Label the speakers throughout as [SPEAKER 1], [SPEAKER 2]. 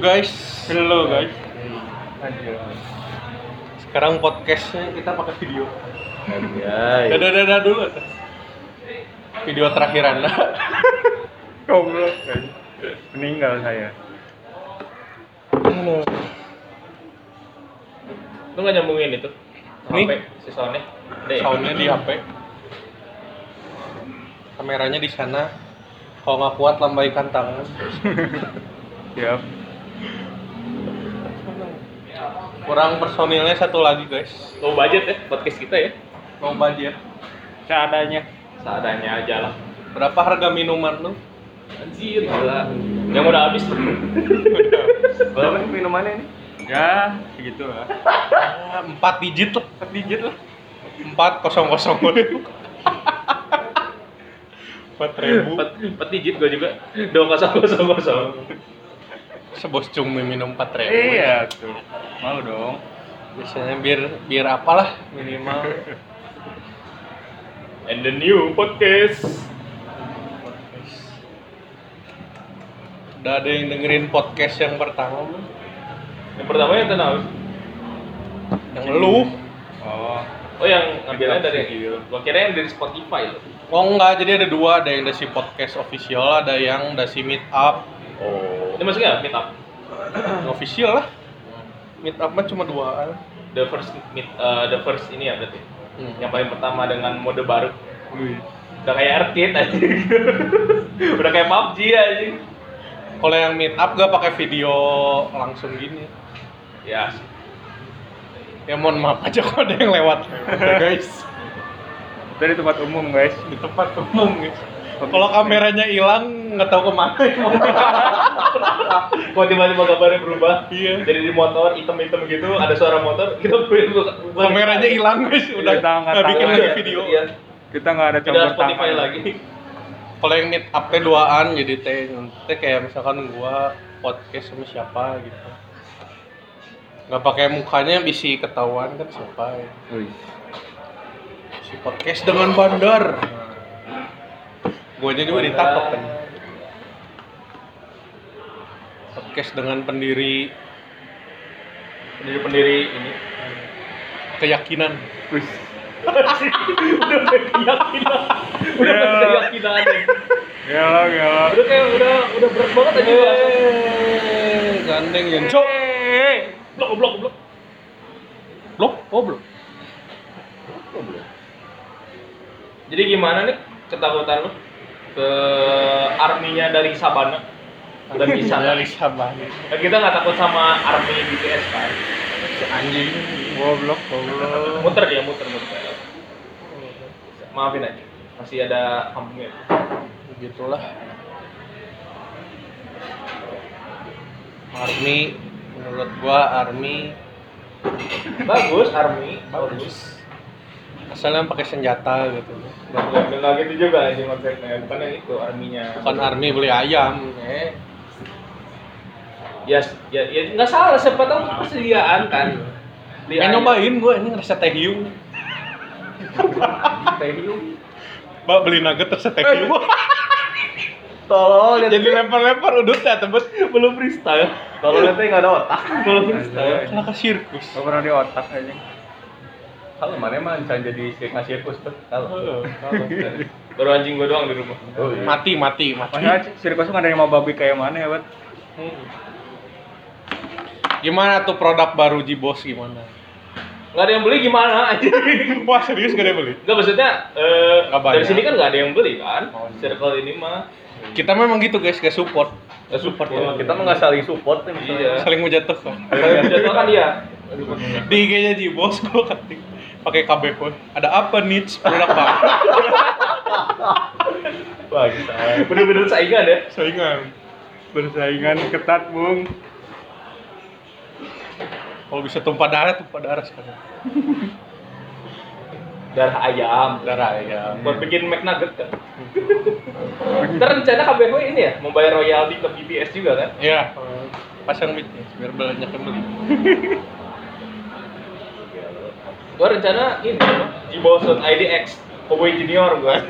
[SPEAKER 1] guys, hello guys. Anjir. Sekarang podcastnya kita pakai video.
[SPEAKER 2] Anjay.
[SPEAKER 1] Dadah dadah dulu. Video terakhir anda. Goblok guys.
[SPEAKER 2] Meninggal saya.
[SPEAKER 1] Halo.
[SPEAKER 3] Lu nggak nyambungin itu?
[SPEAKER 1] Nih.
[SPEAKER 3] HP, si soundnya? Ada ya?
[SPEAKER 1] Eh. Soundnya di HP. Kameranya di sana. Kalau nggak kuat lambaikan tangan.
[SPEAKER 2] Yap.
[SPEAKER 1] Kurang personilnya satu lagi guys.
[SPEAKER 3] Low budget ya, podcast kita ya
[SPEAKER 1] Mau budget.
[SPEAKER 2] Seadanya.
[SPEAKER 3] Seadanya aja lah
[SPEAKER 1] Berapa harga minuman lu?
[SPEAKER 3] Anjir, gila Yang udah habis tuh
[SPEAKER 2] Berapa nih minumannya ini? Ya, segitu lah.
[SPEAKER 1] Ah, Empat digit lah.
[SPEAKER 2] Empat digit lah.
[SPEAKER 1] empat kosong kosong empat ribu
[SPEAKER 3] Empat empat digit gue juga Dua kosong kosong kosong
[SPEAKER 1] sebos cumi minum empat ribu
[SPEAKER 2] Iya tuh. Mau dong.
[SPEAKER 1] biasanya bir bir apalah minimal
[SPEAKER 3] And the new podcast
[SPEAKER 1] udah ada yang dengerin podcast yang pertama belum?
[SPEAKER 3] Yang pertama yang tenang
[SPEAKER 1] yang lu
[SPEAKER 2] Oh.
[SPEAKER 3] Oh yang ngambilnya dari Gue kira yang dari Spotify loh
[SPEAKER 1] oh enggak jadi ada dua ada yang dasi podcast official ada yang dasi meet up
[SPEAKER 3] Oh Ini maksudnya meet up
[SPEAKER 1] official lah meet up mah cuma duaan
[SPEAKER 3] The first meet, eh, the first ini ya berarti
[SPEAKER 1] Hmm.
[SPEAKER 3] Yang paling pertama dengan mode baru Udah kayak arcade aja Udah kayak PUBG aja
[SPEAKER 1] kalau yang meet up gak pakai video langsung gini
[SPEAKER 3] Ya
[SPEAKER 1] ya mohon maaf aja kalau ada yang lewat Ya, guys
[SPEAKER 2] Itu di tempat umum guys.
[SPEAKER 1] di tempat umum guys. Kalau kameranya hilang nggak tahu kemana.
[SPEAKER 3] Kok tiba-tiba kabarnya berubah?
[SPEAKER 1] Iya.
[SPEAKER 3] Jadi di motor hitam-hitam gitu ada suara motor kita berubah.
[SPEAKER 1] Kameranya hilang guys, udah
[SPEAKER 2] Kita nggak
[SPEAKER 1] nggak
[SPEAKER 2] tahu
[SPEAKER 1] bikin
[SPEAKER 2] aja.
[SPEAKER 1] lagi video.
[SPEAKER 3] Iya.
[SPEAKER 2] Kita nggak ada
[SPEAKER 3] Tidak
[SPEAKER 2] campur
[SPEAKER 3] Spotify
[SPEAKER 2] tangan.
[SPEAKER 3] lagi.
[SPEAKER 1] Kalau yang meet up teh duaan jadi teh teh kayak misalkan gua podcast sama siapa gitu. Nggak pakai mukanya bisa ketahuan kan siapa ya.
[SPEAKER 2] Wih.
[SPEAKER 1] Si podcast dengan bandar. Gua aja juga ditangkap kan.
[SPEAKER 3] Eh,
[SPEAKER 1] Podcast dengan pendiri
[SPEAKER 3] Pendiri-pendiri ini.
[SPEAKER 1] keyakinan.
[SPEAKER 2] Wih.
[SPEAKER 3] udah keyakinan. Udah
[SPEAKER 2] Iya.
[SPEAKER 3] yeah. keyakinan.
[SPEAKER 2] Gelok, gelok.
[SPEAKER 3] Udah kayak udah udah berat banget aja.
[SPEAKER 1] Iya. Eh, gandeng Yonco.
[SPEAKER 3] Blok blok blok.
[SPEAKER 1] Blok, oh blok. Oh,
[SPEAKER 3] Jadi gimana nih ketakutan lu ke arminya dari Sabana? Dan bisa
[SPEAKER 1] dari Sabang.
[SPEAKER 3] Dan kita nggak takut sama army BTS kan?
[SPEAKER 1] Anjing.
[SPEAKER 2] Goblok, goblok.
[SPEAKER 3] muter dia muter muter maafin aja masih ada kampungnya
[SPEAKER 1] Begitulah. Army menurut gua Army
[SPEAKER 3] bagus army bagus
[SPEAKER 1] asalnya pakai senjata gitu.
[SPEAKER 3] nggak nggak gitu juga aja konsepnya bukan yang itu arminya
[SPEAKER 1] Bukan Army beli ayam. Eh,
[SPEAKER 3] ya ya ya nggak salah siapa tahu itu persediaan kan Beli
[SPEAKER 1] pengen
[SPEAKER 3] air,
[SPEAKER 1] nyobain gua ini ngerasa teh hiu.
[SPEAKER 3] teh hiu
[SPEAKER 1] Mbak beli nugget terus teh hiu.
[SPEAKER 3] tolol
[SPEAKER 1] Eh. Jadi lempar-lempar udutnya tebus belum freestyle.
[SPEAKER 3] tolol itu nggak ada otak Iya, kalau freestyle
[SPEAKER 1] Kalah ke sirkus.
[SPEAKER 2] Gak pernah di otak aja.
[SPEAKER 4] Kalau mana mah bisa jadi kayak ngasih sirkus tuh. Kalau.
[SPEAKER 3] baru anjing gua doang di rumah
[SPEAKER 4] Oh, iya.
[SPEAKER 1] Mati, mati, mati.
[SPEAKER 2] Maksudnya sirkus nggak ada yang mau babi kayak mana ya, bet?
[SPEAKER 3] Hmm.
[SPEAKER 1] Gimana tuh produk baru Jibos gimana?
[SPEAKER 3] nggak ada yang beli gimana aja
[SPEAKER 1] Wah serius gak ada yang beli?
[SPEAKER 3] nggak maksudnya eh,
[SPEAKER 1] Nggak
[SPEAKER 3] dari
[SPEAKER 1] banyak.
[SPEAKER 3] sini kan nggak ada yang beli kan
[SPEAKER 2] Oh, iya.
[SPEAKER 3] circle ini mah
[SPEAKER 1] Kita memang gitu guys, gak support
[SPEAKER 3] nggak support
[SPEAKER 4] Iya,
[SPEAKER 3] ya.
[SPEAKER 4] kita mah nggak saling support nih misalnya.
[SPEAKER 3] iya
[SPEAKER 1] Saling menjatuhkan
[SPEAKER 3] Kalau jatuh kan dia.
[SPEAKER 1] Di IG-nya Jibos, gue ketik pakai KB pun Ada apa niche produk baru?
[SPEAKER 4] Wah, kita.
[SPEAKER 3] Bener-bener saingan ya.
[SPEAKER 1] Saingan
[SPEAKER 2] Persaingan ketat, Bung.
[SPEAKER 1] Kalau bisa tumpah darah, tumpah darah sekarang
[SPEAKER 3] Darah ayam.
[SPEAKER 1] Darah
[SPEAKER 4] iya.
[SPEAKER 1] ya
[SPEAKER 3] Buat bikin McNugget kan. Ntar rencana KBW ini ya, membayar royalti ke BTS juga kan?
[SPEAKER 1] Iya Pasang mic-nya, biar banyak yang beli
[SPEAKER 3] Gua rencana ini, jibo.id X, Cowboy Junior gua.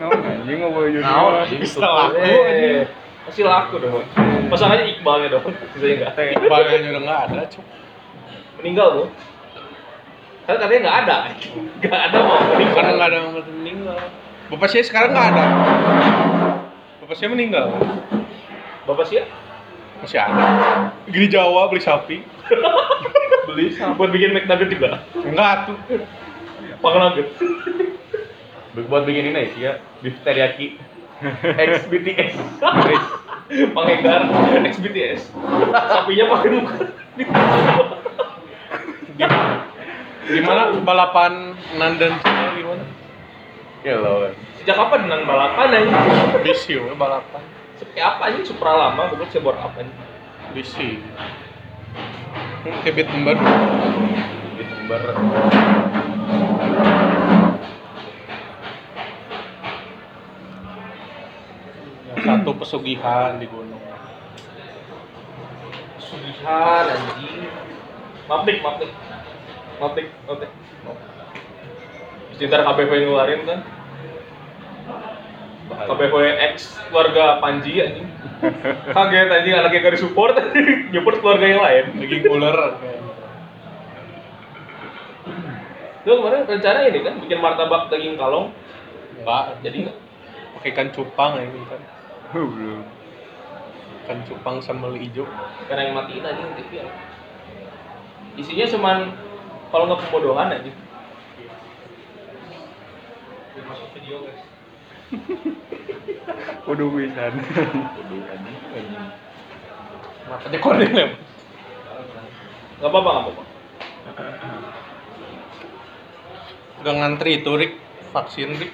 [SPEAKER 2] No, anjing nggak boleh jadi.
[SPEAKER 1] Nah,
[SPEAKER 4] Naon,
[SPEAKER 2] orang.
[SPEAKER 4] anjing.
[SPEAKER 1] Setelah aku
[SPEAKER 3] Eh, Pasti laku dong. Pasang aja Iqbalnya dong. Sisanya enggak.
[SPEAKER 2] ya.
[SPEAKER 1] Iqbalnya juga nggak ada cuk
[SPEAKER 3] Meninggal tuh. Karena katanya nggak ada. Nggak ada mau meninggal.
[SPEAKER 1] karena nggak ada yang meninggal bapak saya sekarang nggak ada bapak saya meninggal
[SPEAKER 3] Bapak sih ya?
[SPEAKER 1] masih ada gini Jawa beli sapi
[SPEAKER 3] Beli buat bikin McNugget juga.
[SPEAKER 1] enggak tuh
[SPEAKER 3] Pangan nugget.
[SPEAKER 4] Buat bikin ini sih ya, beef teriyaki. Ex BTS.
[SPEAKER 3] Pangekar ex BTS. Sapinya pakai muka.
[SPEAKER 1] gimana balapan Nandan Cina gimana
[SPEAKER 4] Ya loh.
[SPEAKER 3] Sejak kapan dengan balapan aja?
[SPEAKER 1] bisi we, balapan
[SPEAKER 3] Seperti apa aja? Supra lama, bukan cebor apa aja?
[SPEAKER 1] bisi Hmm, kebit ember
[SPEAKER 4] Youtuber.
[SPEAKER 1] satu pesugihan di gunung
[SPEAKER 3] Sugihan anjing. Mapik, mapik. Mapik, mapik. Terus ntar KBV ngeluarin kan. KBV X keluarga Panji anjing. Kaget anjing anaknya gak disupport, support keluarga yang lain.
[SPEAKER 1] daging ular
[SPEAKER 3] Lu kemarin rencana ini kan bikin martabak daging kalong.
[SPEAKER 1] mbak
[SPEAKER 3] Jadi nggak?
[SPEAKER 1] pakai ikan cupang ya ini kan
[SPEAKER 2] Belum.
[SPEAKER 1] ikan cupang sambal hijau
[SPEAKER 3] karena yang matiin aja yang TV ya. Isinya cuman kalau nggak pembodohan aja. Iya. Masuk video guys.
[SPEAKER 2] Waduh, wisan.
[SPEAKER 1] matanya kode lem
[SPEAKER 3] Gak apa-apa, gak apa-apa.
[SPEAKER 1] udah ngantri itu Rik vaksin Rik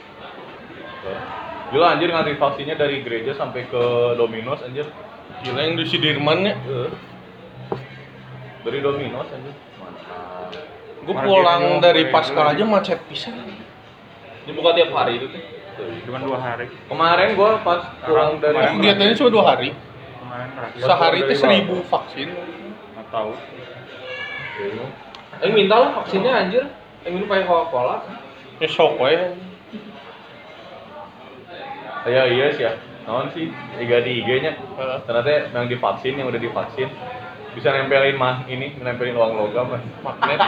[SPEAKER 4] Gila anjir ngantri vaksinnya dari gereja sampai ke Domino's anjir.
[SPEAKER 1] gila yang di Sudirman ya
[SPEAKER 4] Eh. Dari Domino's anjir. Mantap.
[SPEAKER 1] gue pulang dari Pascal aja macet pisan
[SPEAKER 3] Dibuka tiap hari itu tuh.
[SPEAKER 4] Tuh.
[SPEAKER 2] Cuman dua hari.
[SPEAKER 4] Kemarin gua pas pulang dari
[SPEAKER 2] Kemarin.
[SPEAKER 1] kegiatannya cuma dua hari
[SPEAKER 2] Kemarin terakhir.
[SPEAKER 1] sehari itu seribu vaksin
[SPEAKER 2] Nggak tahu.
[SPEAKER 3] Eh minta lah vaksinnya anjir. Eh minum pakai Coca-Cola.
[SPEAKER 1] ya sok ya
[SPEAKER 4] Ya iya sih ya. Naon sih? Iga di IG-nya.
[SPEAKER 1] Eh,
[SPEAKER 4] Ternyata yang divaksin yang udah divaksin bisa nempelin mah ini, nempelin uang logam kan. magnet.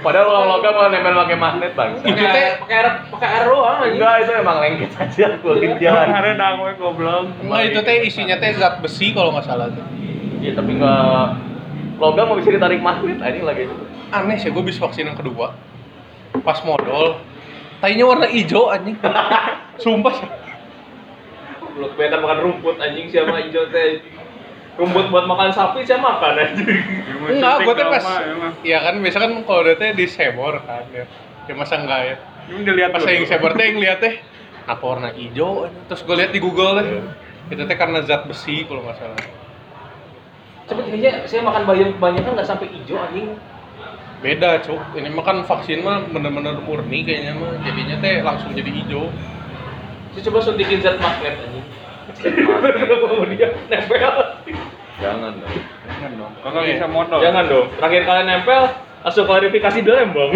[SPEAKER 4] Padahal uang logam kan nempel pakai magnet bang.
[SPEAKER 1] Itu
[SPEAKER 3] Pakai
[SPEAKER 1] teh-
[SPEAKER 3] air- pakai air- pakai air doang anjir.
[SPEAKER 4] Enggak itu emang lengket aja kulit
[SPEAKER 2] Kemarin
[SPEAKER 4] jalan.
[SPEAKER 2] aku goblok.
[SPEAKER 1] Enggak nah, itu teh isinya teh zat besi kalau nggak salah tuh.
[SPEAKER 4] Iya tapi enggak logam mau bisa ditarik magnet anjing lagi.
[SPEAKER 1] Aneh sih gue bis vaksin yang kedua. Pas modal, tainya warna hijau anjing. Sumpah sih.
[SPEAKER 3] Belum kebanyakan makan rumput anjing siapa hijau teh. Rumput buat makan sapi saya makan anjir.
[SPEAKER 1] Enggak, gue teh pas. Iya kan biasa kan kalau dia teh di sebor kan ya. Ya masa enggak ya?
[SPEAKER 2] Ini dilihat
[SPEAKER 1] Pas yang sebor teh yang lihat teh apa warna hijau anjing. terus gue lihat di Google teh. Itu teh karena zat besi kalau nggak salah.
[SPEAKER 3] Cepet kayaknya saya makan bayam kebanyakan nggak sampai hijau anjing.
[SPEAKER 1] Beda, Cuk. Ini mah kan vaksin mah bener-bener murni kayaknya mah. Jadinya teh langsung jadi hijau.
[SPEAKER 3] Saya coba suntikin zat magnet anjing.
[SPEAKER 4] Magnet.
[SPEAKER 3] Kemudian nempel.
[SPEAKER 4] Jangan dong.
[SPEAKER 2] Jangan dong. Kakak bisa modal.
[SPEAKER 3] Jangan dong. Terakhir kalian nempel, langsung klarifikasi dulu embang.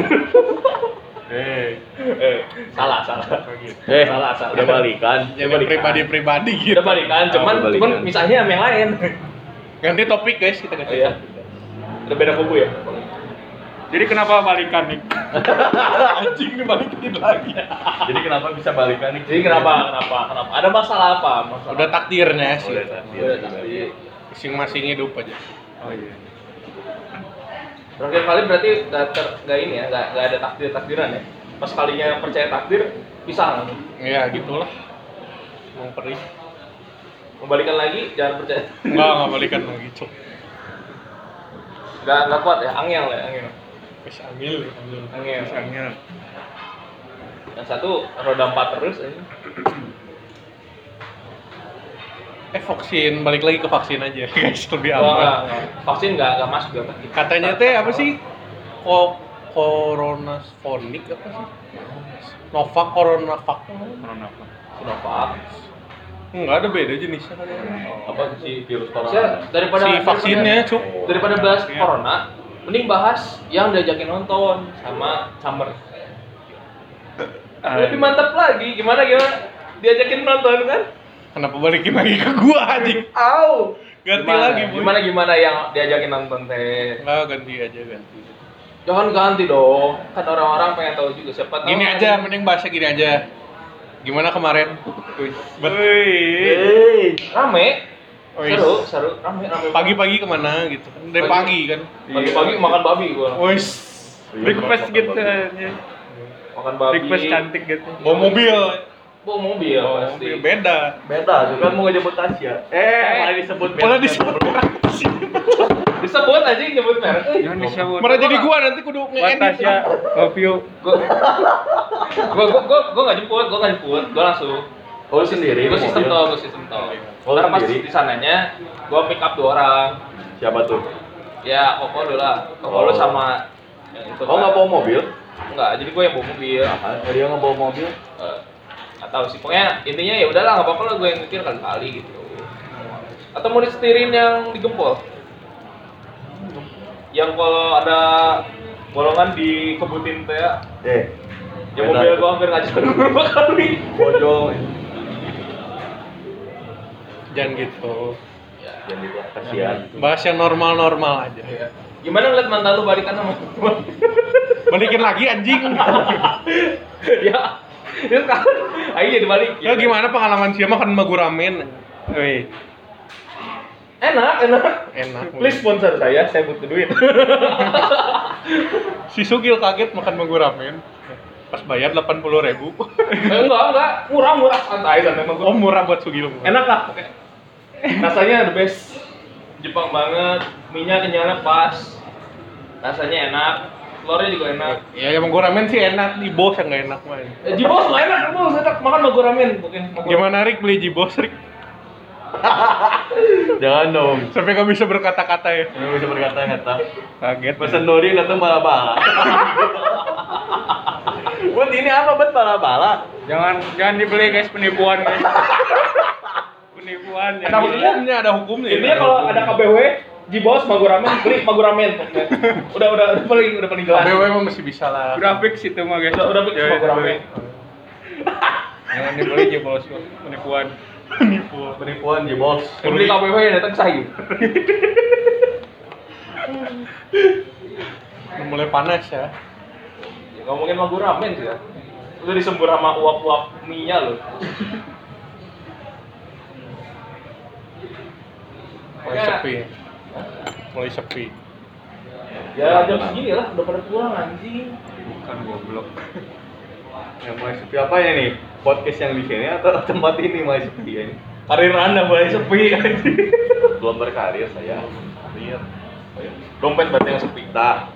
[SPEAKER 2] Eh,
[SPEAKER 3] eh, salah, salah.
[SPEAKER 2] kayak gitu.
[SPEAKER 4] Eh,
[SPEAKER 3] Salah, salah.
[SPEAKER 4] udah balikan.
[SPEAKER 1] Jadi pribadi-pribadi gitu.
[SPEAKER 3] Udah balikan, cuman
[SPEAKER 4] Oh, udah
[SPEAKER 3] cuman
[SPEAKER 4] balikan.
[SPEAKER 3] misalnya sama yang lain.
[SPEAKER 1] Ganti topik guys, kita ganti.
[SPEAKER 3] Oh iya. Udah beda kubu ya?
[SPEAKER 2] Jadi kenapa balikan nih?
[SPEAKER 1] Anjing dibalikin lagi.
[SPEAKER 4] Jadi kenapa bisa balikan nih?
[SPEAKER 3] Jadi kenapa? Kenapa? Kenapa? Ada masalah apa? Masalah.
[SPEAKER 1] Udah takdirnya sih.
[SPEAKER 4] Udah tadi.
[SPEAKER 3] Udah, tapi
[SPEAKER 1] Masing-masing hidup aja.
[SPEAKER 2] Oh iya.
[SPEAKER 3] Terakhir kali berarti gak, ter, gak ini ya, gak, gak ada takdir-takdiran ya? Pas kalinya percaya takdir, pisah langsung.
[SPEAKER 1] Ya gitulah. Emang perih.
[SPEAKER 3] Membalikan lagi, jangan percaya.
[SPEAKER 1] Enggak, enggak balikan lagi, cok.
[SPEAKER 3] Gak, gak kuat ya, angel ya, angel.
[SPEAKER 1] Wis ambil, ambil.
[SPEAKER 3] Angel.
[SPEAKER 2] Misalnya.
[SPEAKER 3] Yang satu, roda empat terus. Ini.
[SPEAKER 1] Eh vaksin, balik lagi ke vaksin aja guys, lebih
[SPEAKER 3] Gak, gak,
[SPEAKER 1] aman.
[SPEAKER 3] gak. Vaksin gak, gak masuk ya, gak takdir.
[SPEAKER 1] Katanya teh apa sih? Ko Corona Sponic apa sih? Novak Corona Vac.
[SPEAKER 2] Corona apa?
[SPEAKER 3] Sinovac.
[SPEAKER 1] Enggak ada beda jenisnya kan.
[SPEAKER 4] Apa sih virus
[SPEAKER 3] Saya
[SPEAKER 4] corona?
[SPEAKER 3] daripada
[SPEAKER 1] Si vaksinnya, cuk.
[SPEAKER 3] daripada, daripada bahas corona, mending bahas yang diajakin nonton sama summer.
[SPEAKER 2] Ah,
[SPEAKER 1] Ah, iya.
[SPEAKER 3] Lebih mantap lagi, gimana gimana? Diajakin nonton kan?
[SPEAKER 1] Kenapa balikin lagi ke gua anjing?
[SPEAKER 3] Au.
[SPEAKER 1] Ganti
[SPEAKER 3] gimana,
[SPEAKER 1] lagi, Boy.
[SPEAKER 3] Gimana gimana yang diajakin nonton teh?
[SPEAKER 1] Enggak ganti aja ganti.
[SPEAKER 3] Jangan ganti dong. Kan orang-orang pengen tahu juga siapa tahu.
[SPEAKER 1] Gini aja, mending bahasa gini aja. Gimana kemarin?
[SPEAKER 2] iya. Wih.
[SPEAKER 3] Hey, rame.
[SPEAKER 1] Wih.
[SPEAKER 3] Seru, seru. Rame, rame.
[SPEAKER 1] Pagi-pagi kemana gitu? kan? Dari pagi kan?
[SPEAKER 3] Pagi-pagi makan babi gua.
[SPEAKER 1] Wis.
[SPEAKER 2] Request gitu aja.
[SPEAKER 3] Makan babi.
[SPEAKER 2] Request cantik gitu.
[SPEAKER 1] Bawa mobil.
[SPEAKER 3] Bawa mobil
[SPEAKER 1] Bawa
[SPEAKER 3] pasti.
[SPEAKER 1] Oh, mobil beda.
[SPEAKER 4] Beda, tuh kan mau ngejemput Tasya. Eh, malah disebut
[SPEAKER 1] Malah disebut
[SPEAKER 3] Disebut aja nyebut merek. eh.
[SPEAKER 2] Jangan disebut.
[SPEAKER 1] Malah jadi gua nanti kudu nge-edit.
[SPEAKER 2] Watasya, love you.
[SPEAKER 3] Gua gua gua gua gua nggak jemput, gua nggak jemput, gua langsung.
[SPEAKER 4] Oh, lu sendiri
[SPEAKER 3] Gua
[SPEAKER 4] mau
[SPEAKER 3] sistem
[SPEAKER 4] mobil?
[SPEAKER 3] tol, gua sistem tol.
[SPEAKER 4] Oh,
[SPEAKER 3] Ntar pas
[SPEAKER 4] sendiri?
[SPEAKER 3] di sananya, gua pick up dua orang.
[SPEAKER 4] Siapa tuh?
[SPEAKER 3] Ya, koko dulu lah. Koko lu
[SPEAKER 4] Oh.
[SPEAKER 3] sama ya, itu.
[SPEAKER 4] Oh, nggak bawa mobil?
[SPEAKER 3] Enggak, jadi gua yang bawa mobil.
[SPEAKER 4] Ah, dia nggak bawa mobil?
[SPEAKER 3] Eh, Nggak tahu sih. Pokoknya intinya ya udahlah, nggak apa-apa lah gua yang mikir kali-kali gitu. Atau mau disetirin yang digempol? Yang kalau ada bolongan dikebutin teh ya.
[SPEAKER 4] Eh,
[SPEAKER 3] Ya
[SPEAKER 4] Beda.
[SPEAKER 3] mobil gua hampir ngajak dua kali.
[SPEAKER 4] bojol.
[SPEAKER 1] Jangan gitu.
[SPEAKER 3] Ya.
[SPEAKER 4] Kasihan.
[SPEAKER 1] Bahas yang normal-normal aja.
[SPEAKER 3] Iya. Gimana ngeliat mantan lu balikan sama gua?
[SPEAKER 1] Balikin lagi anjing.
[SPEAKER 3] ya. Ya kan. Ayo jadi balik.
[SPEAKER 2] Oh,
[SPEAKER 1] Ya gimana pengalaman sih makan maguramen?
[SPEAKER 2] Wih.
[SPEAKER 3] Enak, enak.
[SPEAKER 1] Enak.
[SPEAKER 3] Please sponsor saya, saya butuh duit. Eh,
[SPEAKER 1] Si Sugil kaget makan maguramen. Pas bayar 80.000 ribu.
[SPEAKER 3] Eh, enggak, enggak. Murah-murah santai santai sama
[SPEAKER 1] Oh
[SPEAKER 3] gua.
[SPEAKER 1] murah buat Sugil. Murah.
[SPEAKER 3] Enak lah. pokoknya. Rasanya the best. Jepang banget, minyak kenyalnya pas. Rasanya enak, telurnya juga enak.
[SPEAKER 1] Ya yang maguramen sih enak di bos yang nggak enak main.
[SPEAKER 3] Eh, Jibos lah enak, Jibos enak. Makan sama gua ramen pokoknya. Sama gua.
[SPEAKER 1] Gimana Rik beli jibos Rik?
[SPEAKER 4] Jangan dong.
[SPEAKER 1] Sampai nggak bisa berkata-kata ya.
[SPEAKER 4] Ini bisa berkata-kata.
[SPEAKER 2] Kaget.
[SPEAKER 4] Pesan Nori datang bala-bala. Buat ini apa buat bala-bala?
[SPEAKER 2] Jangan jangan dibeli guys penipuan guys. penipuan ya.
[SPEAKER 1] Ada hukumnya, ada hukumnya. Iya.
[SPEAKER 3] Intinya ya, kalau ada KBW, Jibos, Maguramen, beli Maguramen. pokoknya. Udah, udah, udah paling, udah paling jelas.
[SPEAKER 1] BW emang masih bisa lah.
[SPEAKER 2] Udah fix itu mah guys.
[SPEAKER 3] Udah, udah beli
[SPEAKER 2] Ya, ya,
[SPEAKER 3] Maguramen.
[SPEAKER 2] Jangan dibeli aja bos penipuan.
[SPEAKER 1] Nipu.
[SPEAKER 4] Penipuan di bos.
[SPEAKER 3] Yang beli KBW yang datang saya.
[SPEAKER 1] Udah Mulai panas ya.
[SPEAKER 3] Ya, ngomongin Maguramen sih ya. Udah disembur sama uap-uap mie-nya loh.
[SPEAKER 1] Mulai sepi. Mulai sepi.
[SPEAKER 3] Ya jam segini lah, udah pada pulang anjing.
[SPEAKER 2] Bukan goblok.
[SPEAKER 4] Yang mulai sepi apa ya nih? Podcast yang di sini atau tempat ini mulai sepi ya ini?
[SPEAKER 3] Karir anda mulai sepi anjing.
[SPEAKER 4] Belum berkarir saya. Karir. Oh, iya.
[SPEAKER 3] Dompet berarti yang sepi.
[SPEAKER 4] Dah.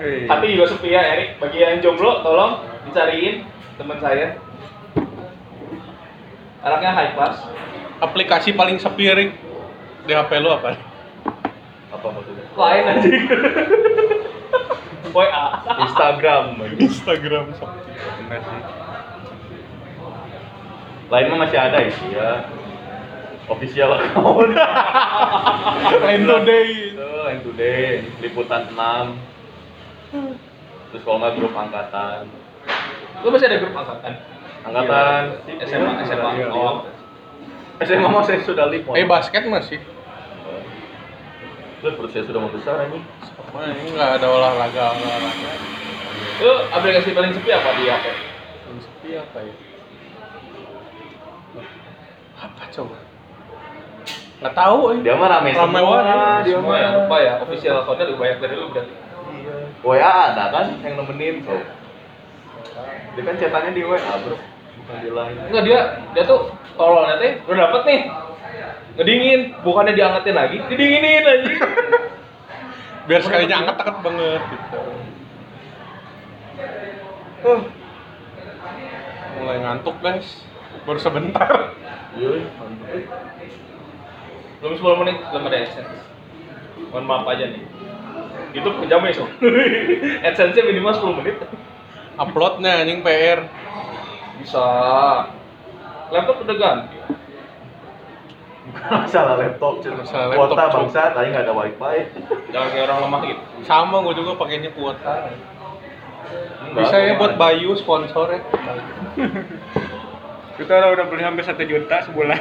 [SPEAKER 2] Hei.
[SPEAKER 3] Hati juga sepi ya Erik. Bagi yang jomblo tolong dicariin teman saya. Anaknya high class.
[SPEAKER 1] Aplikasi paling sepi Rik di HP lu apa?
[SPEAKER 4] Apa maksudnya?
[SPEAKER 3] Lain anjing. Boy A.
[SPEAKER 4] Instagram.
[SPEAKER 1] Instagram sepi.
[SPEAKER 2] Bener sih.
[SPEAKER 4] Lain mah masih ada ya. ya. Official account.
[SPEAKER 1] Lain today.
[SPEAKER 4] Itu Line Today, liputan 6. Terus kalau nggak grup angkatan.
[SPEAKER 3] Lu masih ada grup angkatan? Iya.
[SPEAKER 4] Angkatan Iya,
[SPEAKER 3] SMA, SMA. Oh.
[SPEAKER 4] SMA mau saya sudah lipon.
[SPEAKER 1] Eh basket masih.
[SPEAKER 4] Terus perut saya sudah mau besar ini.
[SPEAKER 1] Sama ini nggak ada olahraga olahraga.
[SPEAKER 3] Lu aplikasi paling sepi apa di HP?
[SPEAKER 1] Paling sepi apa ya? Apa coba? Nggak tahu eh.
[SPEAKER 4] Dia mah rame
[SPEAKER 1] Rame
[SPEAKER 4] semua,
[SPEAKER 1] banget.
[SPEAKER 4] dia
[SPEAKER 3] Semua
[SPEAKER 4] mah.
[SPEAKER 3] yang lupa ya, official account-nya lebih banyak dari lu berarti.
[SPEAKER 4] WA ada kan yang nemenin tuh. Dia kan catatannya di WA, Bro. Bukan di lain.
[SPEAKER 3] Enggak dia dia tuh kalau nanti udah dapet nih ngedingin bukannya diangkatin lagi didinginin aja
[SPEAKER 1] Biar sekalinya angkat angkat banget gitu.
[SPEAKER 4] Huh.
[SPEAKER 1] Mulai ngantuk guys. Baru sebentar.
[SPEAKER 4] Iya, mantep.
[SPEAKER 3] belum 10 menit belum ada adsense mohon maaf aja nih YouTube kejam ya so adsense nya minimal 10 menit
[SPEAKER 1] Uploadnya anjing PR.
[SPEAKER 3] bisa laptop udah ganti
[SPEAKER 4] Bukan masalah laptop, cuy.
[SPEAKER 1] Masalah
[SPEAKER 4] Kuota
[SPEAKER 1] laptop, cuy.
[SPEAKER 4] bangsa, tadi nggak ada wifi.
[SPEAKER 3] jangan kayak orang lemah gitu
[SPEAKER 1] Sama gue juga pakainya kuota.
[SPEAKER 4] Enggak,
[SPEAKER 1] Bisa ya
[SPEAKER 4] kemarin.
[SPEAKER 1] buat Bayu sponsor ya.
[SPEAKER 2] Itu orang udah beli hampir 1 juta sebulan.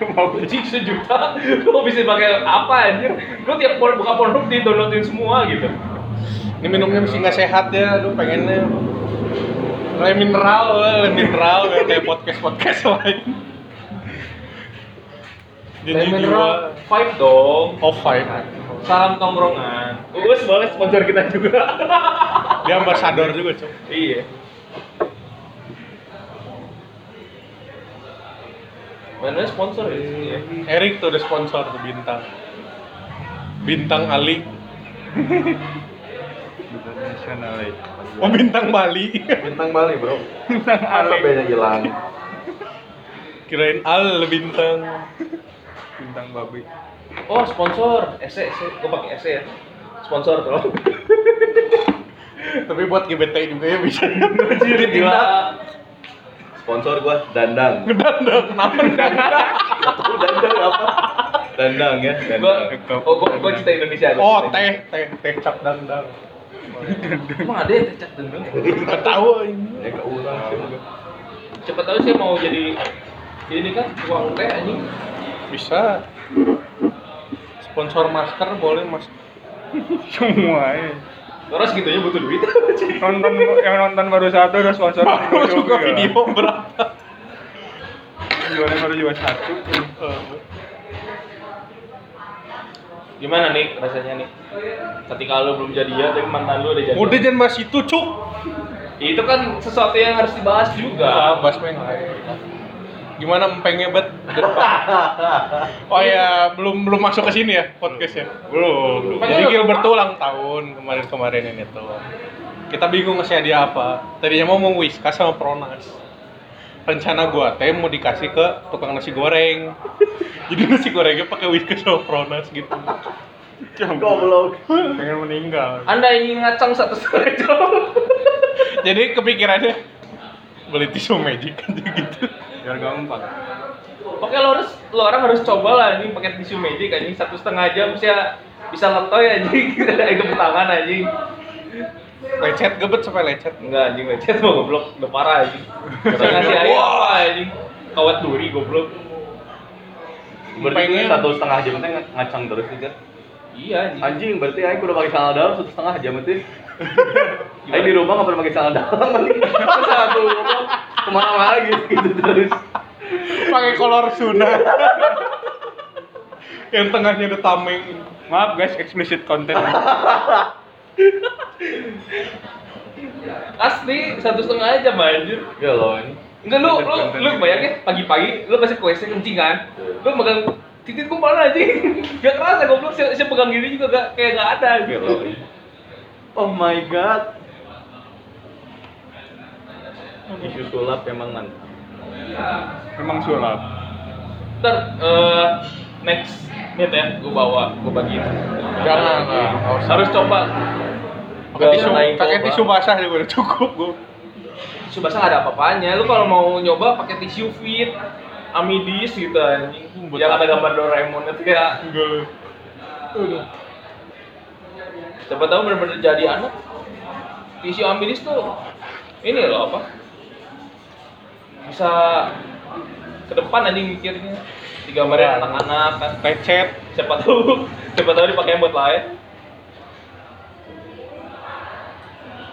[SPEAKER 2] Itu mau beli.
[SPEAKER 3] Anjing sejuta, lu bisa pakai apa anjir? Lu tiap pon buka pornhub di downloadin semua gitu.
[SPEAKER 1] Ini minumnya mesti nggak sehat ya, aduh pengennya Lem mineral, weh, lem mineral, nggak kayak podcast-podcast lain Jadi jiwa
[SPEAKER 3] five dong.
[SPEAKER 1] Oh fine
[SPEAKER 3] Salam tongkrongan. Uus boleh sponsor kita juga.
[SPEAKER 1] Dia ambasador juga cok
[SPEAKER 3] iya. Mana sponsor ya? Iya.
[SPEAKER 1] Erik tuh udah sponsor tuh bintang Bintang Ali
[SPEAKER 2] International League.
[SPEAKER 1] Oh bintang Bali
[SPEAKER 4] Bintang Bali bro. Bintang Bali. Sampai hilang.
[SPEAKER 1] Kirain Al bintang
[SPEAKER 2] Bintang babi.
[SPEAKER 3] Oh sponsor, E, ese ese, gue pakai ese ya. Sponsor tuh.
[SPEAKER 1] Tapi buat GBT juga ya bisa
[SPEAKER 3] Jadi gila.
[SPEAKER 4] Sponsor gua Dandang.
[SPEAKER 1] Ngedandang, kenapa ngedandang?
[SPEAKER 4] Oh, Dandang apa? Dandang ya.
[SPEAKER 3] Gue,
[SPEAKER 4] Dandang.
[SPEAKER 3] oh gue gue cerita Indonesia. gua
[SPEAKER 1] Oh
[SPEAKER 3] cerita
[SPEAKER 1] teh, teh, teh cap dandang
[SPEAKER 3] Indonesia. Emang ada ya yang tercak dendam.
[SPEAKER 1] Gak tau ini
[SPEAKER 4] Ya keulang sih gua.
[SPEAKER 3] Siapa tahu sih mau jadi ini kan tukang teh anjing.
[SPEAKER 1] Bisa. Sponsor masker boleh mas.
[SPEAKER 2] Semua ya.
[SPEAKER 3] Terus gitunya butuh duit.
[SPEAKER 2] Nonton yang nonton baru satu udah sponsor.
[SPEAKER 1] Baru
[SPEAKER 2] Gokil,
[SPEAKER 1] juga
[SPEAKER 2] gila.
[SPEAKER 1] video berapa?
[SPEAKER 2] Jualnya baru jual satu. eh,
[SPEAKER 3] Gimana nih rasanya nih? Ketika lu belum jadian tapi mantan lu udah jadian.
[SPEAKER 1] Udah jangan bahas itu cuk.
[SPEAKER 3] Itu kan sesuatu yang harus dibahas juga.
[SPEAKER 1] Ah, bahas main lain. Gimana empengnya bet? Oh ya belum belum masuk ke sini ya podcastnya. Belum. Jadi Gilbert tuh ulang tahun kemarin kemarin ini tuh. Kita bingung ngasih hadiah apa. Tadinya mau mau whiskas sama Pronas. Rencana gua teh mau dikasih ke tukang nasi goreng. Jadi nasi gorengnya pakai whiskas sama Pronas gitu.
[SPEAKER 4] Goblok.
[SPEAKER 2] Pengen meninggal.
[SPEAKER 3] Anda ingin ngacang satu sore jam.
[SPEAKER 1] jadi kepikirannya beli tisu magic aja gitu
[SPEAKER 2] Biar gampang.
[SPEAKER 3] Pokoknya lo harus lo orang harus coba lah anjing pakai tisu magic anjing satu setengah jam bisa bisa letoy anjing itu tangan anjing.
[SPEAKER 1] lecet gebet sampai lecet
[SPEAKER 3] Enggak anjing lecet mau goblok udah parah anjing. Bisa ngasih air apa anjing? Kawat duri goblok.
[SPEAKER 4] Berarti
[SPEAKER 1] Pengen.
[SPEAKER 4] gua satu setengah jam teh ngacang terus nih kan.
[SPEAKER 3] Iya anjing.
[SPEAKER 4] Anjing berarti Aing udah pakai sandal dalam satu setengah jam itu. Aing di rumah nggak pernah pakai sandal dalam. Terus satu rumah kemana-mana gitu, gitu terus.
[SPEAKER 1] pakai kolor sunda yang tengahnya ada tameng
[SPEAKER 2] Maaf guys, explicit content.
[SPEAKER 3] Asli satu setengah jam anjir.
[SPEAKER 4] Ya loh ini.
[SPEAKER 3] Enggak lu lu lu bayangin pagi-pagi lu pasti ke WC kencing kan. Lu megang titik gua mana anjing. Gak kerasa goblok si, si pegang gini juga gak kayak gak ada
[SPEAKER 4] Ya
[SPEAKER 3] anjir.
[SPEAKER 4] loh ini. Oh my god. Isu sulap emang mantap.
[SPEAKER 2] Memang
[SPEAKER 3] Nah.
[SPEAKER 2] sulap.
[SPEAKER 3] Ntar eh, next meet ya gua bawa, gua bagi.
[SPEAKER 1] jangan lah nggak usah.
[SPEAKER 3] Harus coba.
[SPEAKER 1] pakai tisu
[SPEAKER 4] Lain
[SPEAKER 1] pakai
[SPEAKER 4] coba.
[SPEAKER 1] tisu basah juga udah cukup gua
[SPEAKER 3] Tisu basah nggak ada apa-apanya. Lu kalau mau nyoba pakai tisu fit Amidis gitu anjing.
[SPEAKER 1] Betul.
[SPEAKER 3] Yang ada gambar Doraemon itu ya.
[SPEAKER 1] enggak udah
[SPEAKER 3] Siapa tahu benar-benar jadi anak. Tisu ambilis tuh ini loh apa? Bisa ke depan aja mikirnya. Digambarin anak-anak kan.
[SPEAKER 1] lecet
[SPEAKER 3] Siapa tahu, siapa tahu dipakai buat lain.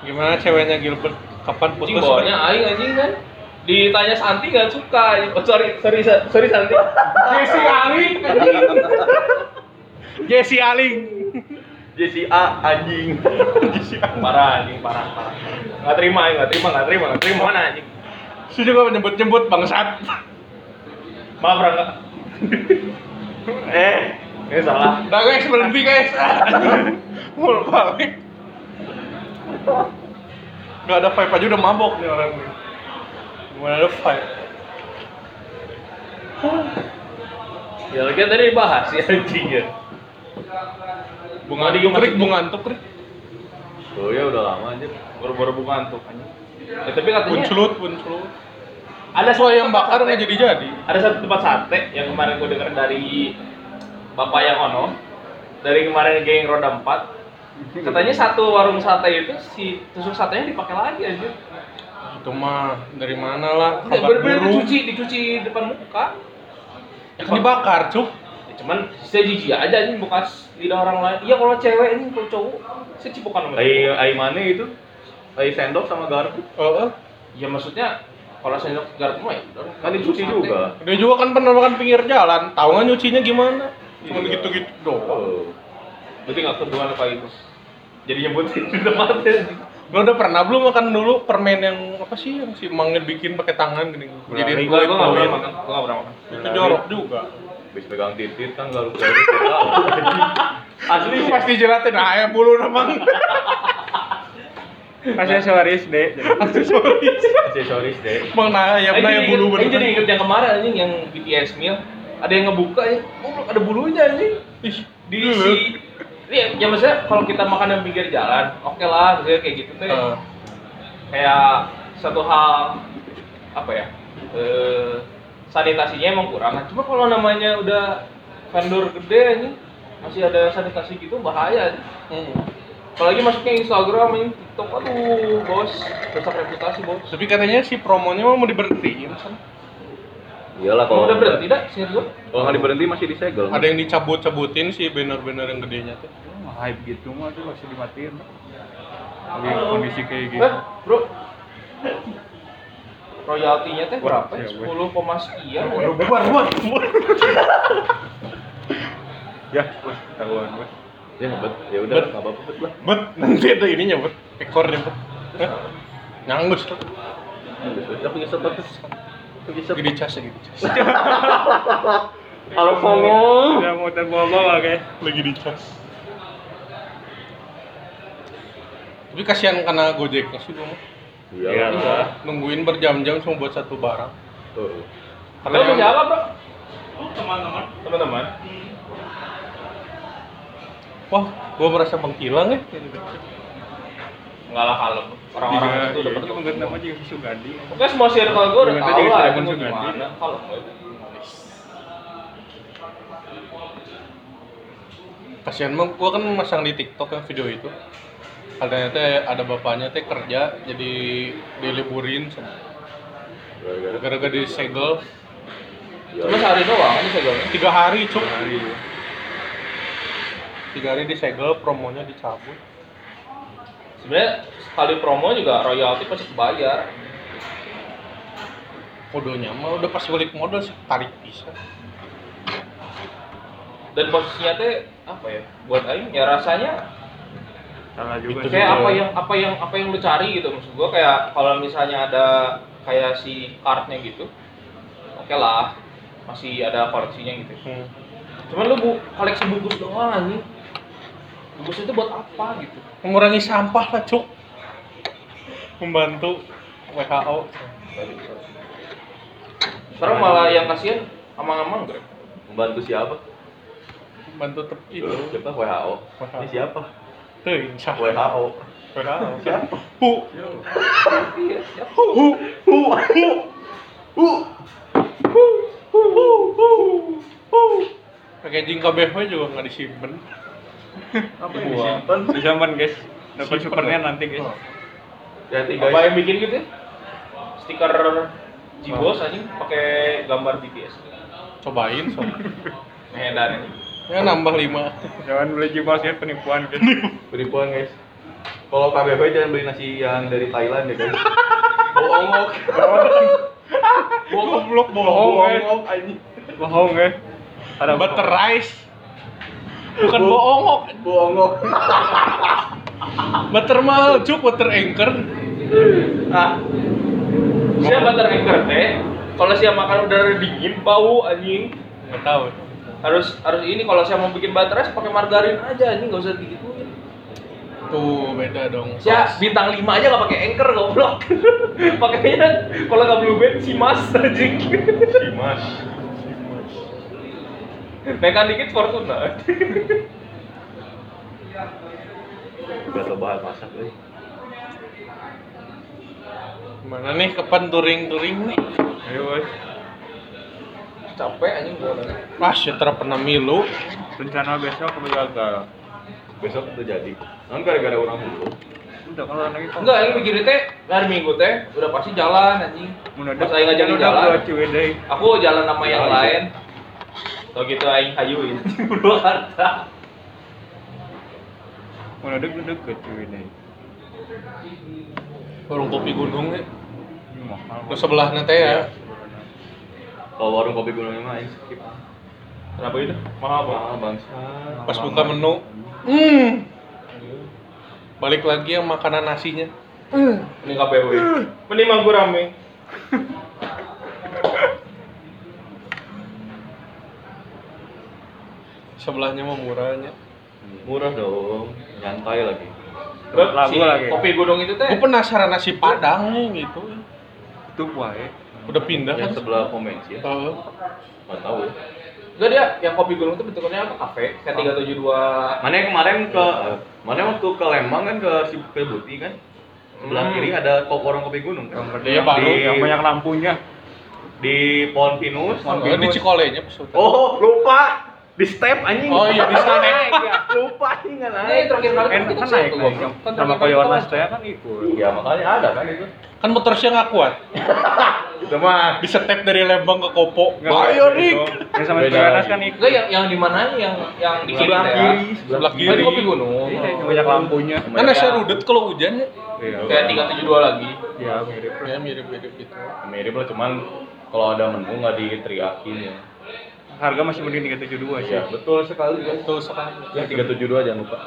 [SPEAKER 1] gimana ceweknya Gilbert kapan
[SPEAKER 3] Anjing
[SPEAKER 1] putus
[SPEAKER 3] bawanya aing anjing kan. Ditanya Santi nggak suka. Oh, sorry, sorry, Sa- sorry Santi. Jesse Aling anjing.
[SPEAKER 1] Jesse Aling
[SPEAKER 4] Jesse A anjing.
[SPEAKER 3] Parah anjing, parah, parah. Nggak terima, aing nggak terima, nggak terima, nggak terima mana anjing.
[SPEAKER 1] Saya juga menyebut-nyebut bangsat
[SPEAKER 3] Maaf Rangga.
[SPEAKER 4] Eh.
[SPEAKER 3] Ini salah.
[SPEAKER 1] Nah guys berhenti guys Mul balik Gak ada vibe aja udah mabok nih orang nih Gimana ada vibe
[SPEAKER 3] Ya lagi tadi dibahas ya anjing ya.
[SPEAKER 1] Bunga
[SPEAKER 3] Tadi gua
[SPEAKER 1] tukrik,
[SPEAKER 3] masih-
[SPEAKER 1] bunga tukrik
[SPEAKER 4] Oh ya udah lama aja.
[SPEAKER 3] baru-baru buka antuk anjing. Ya, tapi katanya
[SPEAKER 1] Buncelut, buncelut
[SPEAKER 3] ada
[SPEAKER 1] Soal yang
[SPEAKER 3] tempat
[SPEAKER 1] bakar
[SPEAKER 3] sate.
[SPEAKER 1] nggak jadi-jadi
[SPEAKER 3] Ada satu tempat sate yang kemarin gue dengar dari bapak yang ono dari kemarin geng roda 4 katanya satu warung sate itu si tusuk satenya dipakai lagi aja
[SPEAKER 1] Itu mah dari mana lah kabar
[SPEAKER 3] Bener-bener
[SPEAKER 1] buruk.
[SPEAKER 3] dicuci, dicuci depan muka.
[SPEAKER 1] Ya kan dibakar, cuk.
[SPEAKER 3] Ya, cuman saya jijik aja anjing bekas lidah orang lain. Iya kalau cewek ini kalau cowok saya cipokan sama
[SPEAKER 4] Tai
[SPEAKER 3] cowok.
[SPEAKER 4] tai mana itu? Tai sendok sama garpu.
[SPEAKER 1] Heeh.
[SPEAKER 3] Ya maksudnya kalau saya nyok garpu mah ya udah.
[SPEAKER 4] Kan dicuci juga.
[SPEAKER 1] Dia juga kan pernah makan pinggir jalan, tahu nggak nyucinya gimana? Cuma
[SPEAKER 4] Iya.
[SPEAKER 1] gitu-gitu doang.
[SPEAKER 4] Oh.
[SPEAKER 3] ya. Berarti nggak kedua apa itu. Jadi nyebutin di tempatnya.
[SPEAKER 1] Lo udah pernah belum makan dulu permen yang apa sih yang si Mangnya bikin pakai tangan gini?
[SPEAKER 4] Gulali.
[SPEAKER 1] Jadi
[SPEAKER 3] Gua gua nggak pernah
[SPEAKER 1] kulit-kulit.
[SPEAKER 3] makan, gua nggak pernah makan.
[SPEAKER 1] Itu jorok juga.
[SPEAKER 4] Habis pegang titit kan garuk-garuk. Asli
[SPEAKER 1] Itu pasti jelatin "Nah, ayam bulu namang.
[SPEAKER 2] Aksesoris deh.
[SPEAKER 1] Aksesoris.
[SPEAKER 4] aksesoris deh.
[SPEAKER 1] Emang nah ayam
[SPEAKER 3] Eh,
[SPEAKER 1] nah
[SPEAKER 3] jadi
[SPEAKER 1] ayam
[SPEAKER 3] inget-
[SPEAKER 1] bulu
[SPEAKER 3] eh, jadi
[SPEAKER 1] bener.
[SPEAKER 3] inget yang kemarin anjing yang BTS meal ada yang ngebuka ya, goblok, ada bulunya anjing.
[SPEAKER 1] Ih, Iya.
[SPEAKER 3] diisi ini ya maksudnya kalau kita makan di pinggir jalan oke lah maksudnya kayak gitu tuh
[SPEAKER 1] Eh,
[SPEAKER 3] kayak satu hal apa ya eh, sanitasinya emang kurang Nah, cuma kalau namanya udah vendor gede ini masih ada sanitasi gitu bahaya anjing.
[SPEAKER 1] hmm.
[SPEAKER 3] apalagi masuknya Instagram ini TikTok aduh bos rusak reputasi bos
[SPEAKER 1] Tapi katanya si promonya mau diberhentiin. San.
[SPEAKER 4] Iyalah
[SPEAKER 3] kalau udah
[SPEAKER 4] kalau
[SPEAKER 3] berhenti dah serius
[SPEAKER 4] Kalau nggak diberhenti masih disegel.
[SPEAKER 1] Ada yang dicabut-cabutin si banner-banner yang gedenya tuh.
[SPEAKER 2] Hype gitu mah tuh masih dimatiin. Lagi kondisi kayak gitu.
[SPEAKER 3] eh bro royaltinya teh berapa ya?
[SPEAKER 2] Ya, weh.
[SPEAKER 3] 10 koma sekian weh.
[SPEAKER 1] Aduh, bubar, bubar, bubar.
[SPEAKER 2] Ya, wes tahuan wes.
[SPEAKER 4] Ya bet. Ya udah
[SPEAKER 1] Bet.
[SPEAKER 4] nggak apa-apa bet lah.
[SPEAKER 1] Bet, nanti ada ininya, Bet. Ekornya, Bet. Hah? Nyanggus tuh.
[SPEAKER 4] Habis itu aku nyesep banget. Aku nyesep.
[SPEAKER 1] Gede cas ya, gede cas.
[SPEAKER 4] Halo Fongo.
[SPEAKER 2] Ya mau terbawa-bawa guys.
[SPEAKER 1] Lagi di cas. Tapi kasihan karena Gojeknya sih gua mah.
[SPEAKER 4] Iya lah.
[SPEAKER 1] Nungguin berjam-jam cuma buat satu barang.
[SPEAKER 4] Tuh.
[SPEAKER 1] Karena
[SPEAKER 3] Lo
[SPEAKER 1] yang-
[SPEAKER 3] siapa, Bro? teman-teman. Teman-teman.
[SPEAKER 1] Wah, gua merasa menghilang ya.
[SPEAKER 3] Enggak lah kalem. Orang-orang
[SPEAKER 2] Iya,
[SPEAKER 3] itu udah pada
[SPEAKER 2] menurut nama juga susu gading.
[SPEAKER 3] Oke, semua circle gue udah tahu
[SPEAKER 2] Gimana juga
[SPEAKER 3] lah
[SPEAKER 2] sudah
[SPEAKER 3] itu mau
[SPEAKER 2] konsumen.
[SPEAKER 3] gimana. Kalem gue.
[SPEAKER 1] Kasihan mah gua kan masang di TikTok yang video itu. Katanya teh ada bapaknya teh kerja jadi diliburin
[SPEAKER 4] Gara-gara.
[SPEAKER 1] gara-gara disegel
[SPEAKER 4] Ya,
[SPEAKER 3] Cuma sehari doang ini segelnya.
[SPEAKER 1] tiga hari cuk tiga hari disegel promonya dicabut
[SPEAKER 3] Sebenarnya sekali promo juga royalti pasti kebayar.
[SPEAKER 1] kodonya mah udah pas balik modal sih tarik bisa
[SPEAKER 3] Dan posisinya teh apa ya? Buat aing ya rasanya
[SPEAKER 2] Salah juga.
[SPEAKER 1] Itu ya.
[SPEAKER 2] sih.
[SPEAKER 3] kayak
[SPEAKER 1] Nah, juga.
[SPEAKER 3] apa yang apa yang apa yang lu cari gitu maksud gue kayak kalau misalnya ada kayak si kartnya gitu. Oke lah. Masih ada koleksinya gitu.
[SPEAKER 1] hmm.
[SPEAKER 3] Cuman lu bu, koleksi bungkus doang anjing. Bungkus itu buat apa gitu?
[SPEAKER 1] mengurangi sampah lah cuk membantu WHO
[SPEAKER 3] Sekarang malah yang kasihan amang-amang Grab.
[SPEAKER 4] Membantu siapa?
[SPEAKER 1] membantu tepi itu
[SPEAKER 4] Loh, Siapa WHO?
[SPEAKER 1] WHO.
[SPEAKER 4] Ini siapa?
[SPEAKER 1] tuh insya
[SPEAKER 4] WHO.
[SPEAKER 1] WHO
[SPEAKER 4] Siapa?
[SPEAKER 1] hu
[SPEAKER 3] Iya, siap.
[SPEAKER 1] hu hu hu hu hu hu hu hu hu hu packaging KBV juga nggak disimpan
[SPEAKER 4] Apa
[SPEAKER 3] yang
[SPEAKER 4] disimpan?
[SPEAKER 2] Disampan guys. Dapat
[SPEAKER 1] Simpen.
[SPEAKER 2] supernya nanti guys.
[SPEAKER 1] Oh.
[SPEAKER 4] Jadi
[SPEAKER 3] Apa
[SPEAKER 4] guys,
[SPEAKER 3] yang bikin gitu? ya? Stiker Jibos anjing pakai gambar BTS.
[SPEAKER 1] cobain so
[SPEAKER 3] Medan ini.
[SPEAKER 1] ya nambah lima
[SPEAKER 2] Jangan beli jimas ya penipuan guys.
[SPEAKER 4] penipuan guys. Kalau KBB jangan beli nasi yang dari Thailand ya guys. Bohong ok.
[SPEAKER 1] gua goblok
[SPEAKER 2] Bohong,
[SPEAKER 1] bohong
[SPEAKER 2] eh.
[SPEAKER 4] Bohong ok anjing.
[SPEAKER 2] Bohong ya. guys. Ada
[SPEAKER 1] butter rice bukan
[SPEAKER 4] Bu-
[SPEAKER 1] bohong ok.
[SPEAKER 4] Bohong ok.
[SPEAKER 1] butter mahal cuk butter anchor
[SPEAKER 4] Ah,
[SPEAKER 3] Saya butter anchor teh. eh. Kalau saya makan udara dingin, bau anjing.
[SPEAKER 1] nggak tahu
[SPEAKER 3] Harus harus ini kalau saya mau bikin butter rice pakai margarin aja anjing, enggak usah digituin.
[SPEAKER 1] tuh beda dong
[SPEAKER 3] Saya bintang 5 aja nggak pakai anchor goblok. Pakainya kalau nggak blue band si Mas anjing.
[SPEAKER 4] Dimas.
[SPEAKER 3] Nekan dikit Fortuna.
[SPEAKER 4] Gak tau bahan masak guys.
[SPEAKER 1] gimana nih kapan touring touring nih
[SPEAKER 2] Ayo guys.
[SPEAKER 3] Capek anjing gua. orangnya.
[SPEAKER 1] ah setelah pernah milu
[SPEAKER 2] Rencana besok aku gagal.
[SPEAKER 4] Besok itu jadi. Non gara-gara orang dulu.
[SPEAKER 2] udah kalau lagi kok.
[SPEAKER 3] Enggak, ini pikir teh, hari minggu teh udah pasti jalan anjing.
[SPEAKER 2] Mendadak.
[SPEAKER 3] Pas aing ngajak
[SPEAKER 2] Kan
[SPEAKER 3] di
[SPEAKER 2] udah
[SPEAKER 3] jalan.
[SPEAKER 2] buat cuy deh.
[SPEAKER 3] Aku jalan sama yang
[SPEAKER 4] Jalan,
[SPEAKER 3] lain. Kalau gitu aing hayuin. Dua harta.
[SPEAKER 2] Mendadak udah deket cuy deh.
[SPEAKER 1] Warung kopi gunung ya.
[SPEAKER 2] Ini Mahal.
[SPEAKER 1] Terus sebelah nanti ya.
[SPEAKER 4] Kalau warung kopi gunung ini mah aing skip.
[SPEAKER 3] Kenapa gitu? itu? Mahal banget.
[SPEAKER 4] Mahal bangsa.
[SPEAKER 1] Pas buka menu, hmm. Balik lagi yang makanan nasinya.
[SPEAKER 3] Mending KPW. Mending manggur rame.
[SPEAKER 1] Sebelahnya mah murahnya.
[SPEAKER 4] Murah dong, nyantai lagi.
[SPEAKER 3] Terus
[SPEAKER 2] Lagu
[SPEAKER 3] si
[SPEAKER 2] lagi.
[SPEAKER 3] kopi gunung itu
[SPEAKER 1] Gue
[SPEAKER 3] teh.
[SPEAKER 1] penasaran nasi padang nih gitu.
[SPEAKER 2] Itu wae.
[SPEAKER 1] Udah pindah kan?
[SPEAKER 4] Yang sebelah konvensi ya,
[SPEAKER 1] Heeh.
[SPEAKER 4] nggak tahu ya.
[SPEAKER 3] Enggak dia, yang kopi gunung itu bentukannya apa? Kafe K372.
[SPEAKER 4] Mana yang kemarin ke mana waktu ke Lembang kan ke si ke Buti kan? Sebelah
[SPEAKER 3] Hmm.
[SPEAKER 4] kiri ada kok orang kopi gunung
[SPEAKER 2] Yang
[SPEAKER 4] kan?
[SPEAKER 2] gede
[SPEAKER 1] Iya, baru.
[SPEAKER 2] di- yang banyak lampunya.
[SPEAKER 4] Di Pohon Pinus.
[SPEAKER 2] Pohon
[SPEAKER 1] Heeh, di
[SPEAKER 2] Pinus.
[SPEAKER 1] Cikolenya pas hutan.
[SPEAKER 4] Oh, lupa. Di step anjing.
[SPEAKER 1] Oh iya di sana.
[SPEAKER 4] lupa anjing kan.
[SPEAKER 3] Ini terakhir kali kan
[SPEAKER 2] Kan
[SPEAKER 3] kita
[SPEAKER 2] kan
[SPEAKER 3] naik
[SPEAKER 2] naik naik. Sama kayak Mas saya kan ikut.
[SPEAKER 4] Iya, makanya ada kan itu.
[SPEAKER 1] Kan motorsnya nggak kuat.
[SPEAKER 4] Itu mah
[SPEAKER 1] Bisa step dari Lembang ke Kopo.
[SPEAKER 2] Nggak,
[SPEAKER 1] Ayo
[SPEAKER 2] itu.
[SPEAKER 1] Dik.
[SPEAKER 2] Yang sama
[SPEAKER 4] Beda
[SPEAKER 2] Mas Yohanes
[SPEAKER 4] lagi.
[SPEAKER 2] kan ikut.
[SPEAKER 3] Enggak yang yang di mana yang yang di ya?
[SPEAKER 4] sebelah kiri,
[SPEAKER 1] Iya. Sebelah
[SPEAKER 3] Oh,
[SPEAKER 1] kiri.
[SPEAKER 3] itu kopi gunung.
[SPEAKER 2] Iya, yang banyak lampunya.
[SPEAKER 1] Kan nasi rudet kalau hujan ya.
[SPEAKER 4] Iya.
[SPEAKER 3] Kayak 372 lagi.
[SPEAKER 2] Ya mirip.
[SPEAKER 1] Ya mirip-mirip gitu.
[SPEAKER 4] Mirip lah cuman kalau ada menu nggak diteriakin ya.
[SPEAKER 2] Harga masih mending 372 sih.
[SPEAKER 4] Iya, betul sekali guys.
[SPEAKER 1] Betul sekali.
[SPEAKER 4] Ya 372 jangan lupa.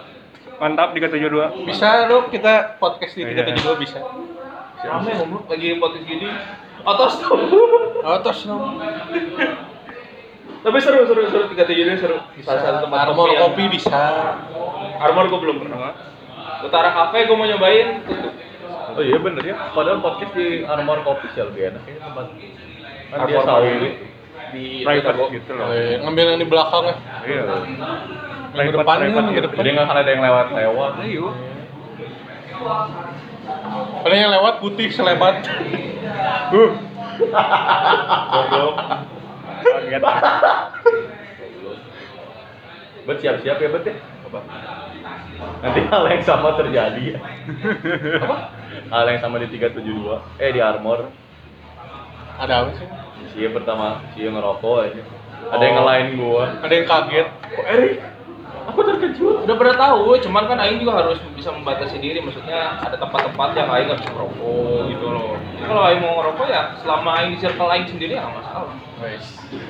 [SPEAKER 2] Mantap 372.
[SPEAKER 1] Bisa dong kita podcast di
[SPEAKER 2] Iya.
[SPEAKER 1] 372 bisa.
[SPEAKER 3] Rame ngomong lagi podcast gini. Atas tuh.
[SPEAKER 1] Oh, terus no.
[SPEAKER 3] Tapi seru seru seru 372 seru. Di salah satu tempat
[SPEAKER 1] Armor
[SPEAKER 3] yang-
[SPEAKER 1] kopi bisa.
[SPEAKER 3] Armor gue belum pernah. Utara Cafe gue mau nyobain tutup.
[SPEAKER 4] Oh iya bener ya. Padahal podcast di Armor Coffee sih lebih enak ya tempat. Kan dia
[SPEAKER 2] Armor
[SPEAKER 4] sawit.
[SPEAKER 2] Coffee.
[SPEAKER 3] Di
[SPEAKER 2] Private gitu loh.
[SPEAKER 1] Eh, ngambil yang di belakang ya.
[SPEAKER 2] Iya. gitu.
[SPEAKER 1] Yang ke depan kan, yang ke depan.
[SPEAKER 4] Jadi nggak akan ada yang lewat-lewat.
[SPEAKER 2] Ayo.
[SPEAKER 1] Paling yang lewat putih selebat.
[SPEAKER 2] Kaget.
[SPEAKER 4] Bet siap-siap ya bet ya. Apa? Nanti hal yang sama terjadi. Apa? Hal yang sama di 372. Eh di Armor.
[SPEAKER 1] Ada apa sih?
[SPEAKER 4] Sia pertama, Sia ngerokok aja. Ada yang ngelain gua.
[SPEAKER 1] Ada yang kaget.
[SPEAKER 4] Kok Eri? Aku terkejut.
[SPEAKER 3] Udah pernah tahu, cuman kan Aing juga harus bisa membatasi diri. Maksudnya ada tempat-tempat yang Aing nggak bisa ngerokok gitu loh. Jadi kalau Aing mau ngerokok ya selama Aing di circle Aing sendiri ya nggak masalah.
[SPEAKER 1] Wes.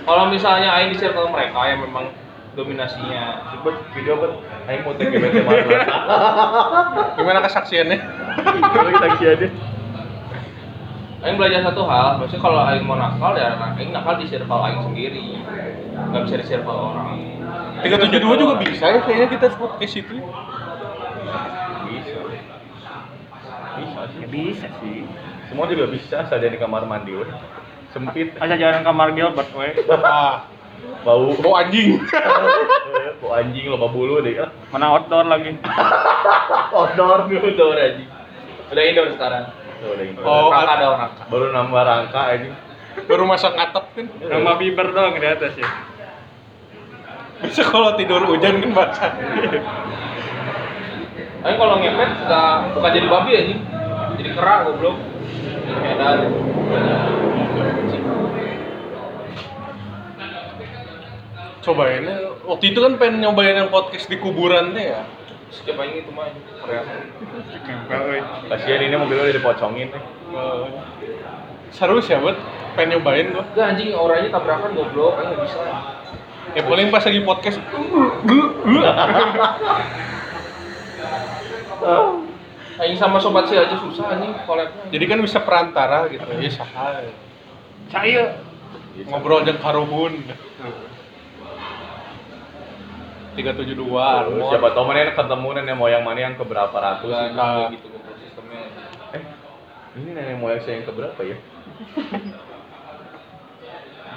[SPEAKER 3] Kalau misalnya Aing di circle mereka yang memang dominasinya
[SPEAKER 4] Bet video bet. Aing mau take bet mana?
[SPEAKER 1] Gimana kesaksiannya?
[SPEAKER 4] Kalau kita aja.
[SPEAKER 3] Aing belajar satu hal, maksudnya kalau Aing mau nakal ya Aing nakal di circle Aing sendiri nggak bisa di circle orang
[SPEAKER 1] 372 juga bisa ya kayaknya kita podcast itu.
[SPEAKER 4] Bisa. Bisa sih.
[SPEAKER 2] Bisa sih.
[SPEAKER 4] Semua juga bisa saja di kamar mandi we. Sempit,
[SPEAKER 2] Asa jalan kamar Gilbert we.
[SPEAKER 1] Ah,
[SPEAKER 4] bau.
[SPEAKER 1] bau anjing.
[SPEAKER 4] Bau anjing loba bulu deh. Ah,
[SPEAKER 2] Mana outdoor lagi.
[SPEAKER 4] Odor.
[SPEAKER 3] Udah udah aja udah indoor sekarang
[SPEAKER 4] Tuh, udah ini.
[SPEAKER 1] Oh,
[SPEAKER 3] Rangka
[SPEAKER 1] ad-
[SPEAKER 3] ada orang
[SPEAKER 4] Baru nambah rangka aja.
[SPEAKER 1] Baru masak ngatep kan.
[SPEAKER 2] Nama fiber doang di atas ya.
[SPEAKER 1] Bisa kalau tidur hujan kan basah.
[SPEAKER 3] Aing kalau ngepet nggak bukan jadi babi aja jadi kera goblok edan
[SPEAKER 1] Cobainnya waktu itu kan pengen nyobain yang podcast di kuburan teh ya.
[SPEAKER 3] siapa yang itu mah keren
[SPEAKER 2] Nempel we.
[SPEAKER 4] Kasihan ini mobilnya udah dipocongin nih.
[SPEAKER 1] Eh, Seru sih ya buat pengen nyobain gua.
[SPEAKER 3] Gak anjing orangnya tabrakan goblok Aing nggak bisa
[SPEAKER 1] Ya paling pas lagi podcast
[SPEAKER 3] Aing sama sobat sih aja susah anjing koleknya
[SPEAKER 1] jadi kan bisa perantara gitu ya saha
[SPEAKER 2] Saya.
[SPEAKER 1] ngobrol jeung karuhun 372
[SPEAKER 4] Terus
[SPEAKER 1] Armor.
[SPEAKER 4] siapa tau mana yang ketemu nenek moyang mana yang keberapa ratus
[SPEAKER 3] Gak
[SPEAKER 1] Nah.
[SPEAKER 3] enak gitu goblok sistemnya
[SPEAKER 4] Eh, ini nenek moyang saya yang keberapa ya?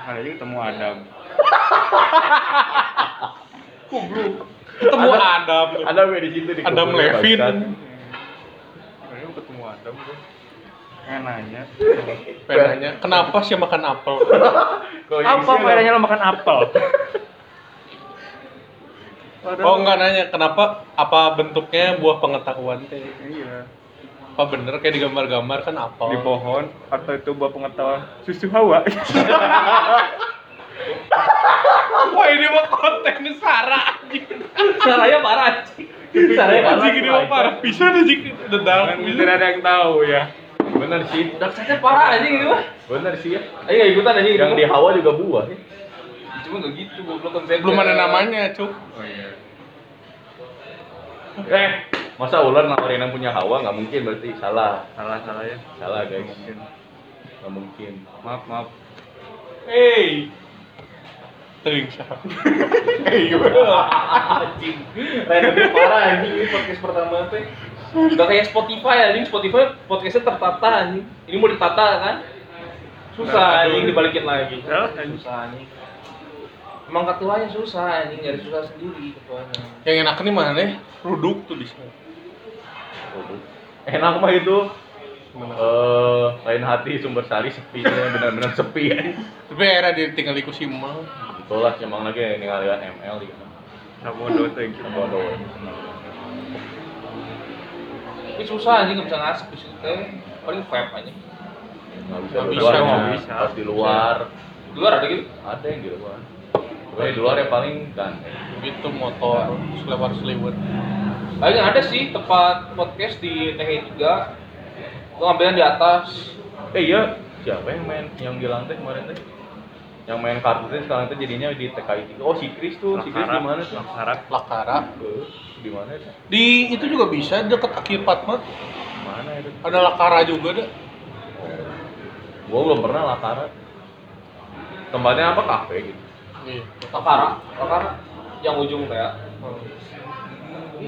[SPEAKER 2] Hari ini Nah, ketemu Adam.
[SPEAKER 1] ketemu
[SPEAKER 4] Adam-
[SPEAKER 1] Adam
[SPEAKER 4] Ada gue di situ di
[SPEAKER 1] Adam
[SPEAKER 4] kuburan,
[SPEAKER 1] Levin.
[SPEAKER 4] bangsat.
[SPEAKER 2] Hari ini Nah, ketemu Adam gue. Pengen nanya.
[SPEAKER 1] pengen nanya kenapa sih makan apel
[SPEAKER 4] Kalau yang
[SPEAKER 2] Apa
[SPEAKER 4] isinya
[SPEAKER 2] bedanya lo makan apel?
[SPEAKER 1] oh enggak nanya kenapa apa bentuknya buah pengetahuan teh
[SPEAKER 2] Iya.
[SPEAKER 1] apa bener kayak di gambar-gambar kan apel.
[SPEAKER 4] Oh.
[SPEAKER 2] di pohon atau itu buah pengetahuan susu hawa
[SPEAKER 1] Wah ini mah konten Sarah anjing.
[SPEAKER 3] Saraya parah anjing.
[SPEAKER 2] ya,
[SPEAKER 3] Saraya parah.
[SPEAKER 1] Anjing ini mah parah. Bisa anjing the dark.
[SPEAKER 2] kan tidak ada yang tahu ya
[SPEAKER 4] Bener sih,
[SPEAKER 3] Dark side-nya parah anjing ini mah.
[SPEAKER 4] bener sih ya.
[SPEAKER 3] Ayo nggak ikutan anjing gitu.
[SPEAKER 4] Yang di hawa juga buah. ya.
[SPEAKER 3] Cuma nggak gitu, goblok konsepnya.
[SPEAKER 1] Belum ada namanya, Cuk.
[SPEAKER 4] Eh, masa ular nawarin yang punya hawa nggak mungkin berarti salah,
[SPEAKER 2] salah salah ya
[SPEAKER 4] salah guys,
[SPEAKER 2] mungkin
[SPEAKER 4] nggak mungkin.
[SPEAKER 2] maaf maaf
[SPEAKER 1] Hey. Tering Sarah.
[SPEAKER 3] anjing. Random parah anjing ini podcast pertama teh. Gak kayak Spotify anjing, Spotify podcastnya tertata anjing. Ini mau ditata kan? Susah anjing dibalikin lagi.
[SPEAKER 2] Salah, anjing.
[SPEAKER 3] Susah anjing. Emang ketuanya susah anjing, nyari susah sendiri ketuanya.
[SPEAKER 1] Yang enak nih mana nih? Ruduk tuh bisa.
[SPEAKER 4] Waduh. Oh, Eh, Enak mah itu
[SPEAKER 1] Gimana?
[SPEAKER 4] eh lain hati sumber sari sepi benar-benar sepi ya.
[SPEAKER 1] Tapi akhirnya dia tinggal di Kusima.
[SPEAKER 4] Betul lah, emang lagi ngalian ML gitu.
[SPEAKER 2] Sabodo teh gitu
[SPEAKER 4] Sama doang.
[SPEAKER 3] Tapi susah anjing nggak bisa ngasep di situ teh. Paling vape anjing.
[SPEAKER 4] Nggak bisa,
[SPEAKER 1] Nggak bisa,
[SPEAKER 4] di
[SPEAKER 1] Iya.
[SPEAKER 4] luar,
[SPEAKER 1] nggak
[SPEAKER 4] ya.
[SPEAKER 2] bisa.
[SPEAKER 4] Harus di luar.
[SPEAKER 3] Di luar ada gitu.
[SPEAKER 4] Ada yang di luar. Pokoknya di luar ya paling ganteng.
[SPEAKER 1] Gitu motor selewar selewat.
[SPEAKER 3] Ayo ada sih tempat podcast di THI 3. Itu ngambilnya di atas.
[SPEAKER 4] Eh iya, siapa yang main yang di lantai kemarin teh? Yang main kartu teh sekarang teh jadinya di TKI 3. Oh, si Kris tuh, si Kris di mana tuh?
[SPEAKER 2] Laksarak.
[SPEAKER 1] Lakara.
[SPEAKER 4] Eh, Di mana itu?
[SPEAKER 1] Di itu juga bisa deket akhir Patma.
[SPEAKER 4] Mana itu?
[SPEAKER 1] Ada Lakara juga dah.
[SPEAKER 4] Gua belum pernah lakara. Tempatnya apa kafe gitu.
[SPEAKER 1] Iya.
[SPEAKER 3] Takara, Takara yang ujung teh. ya.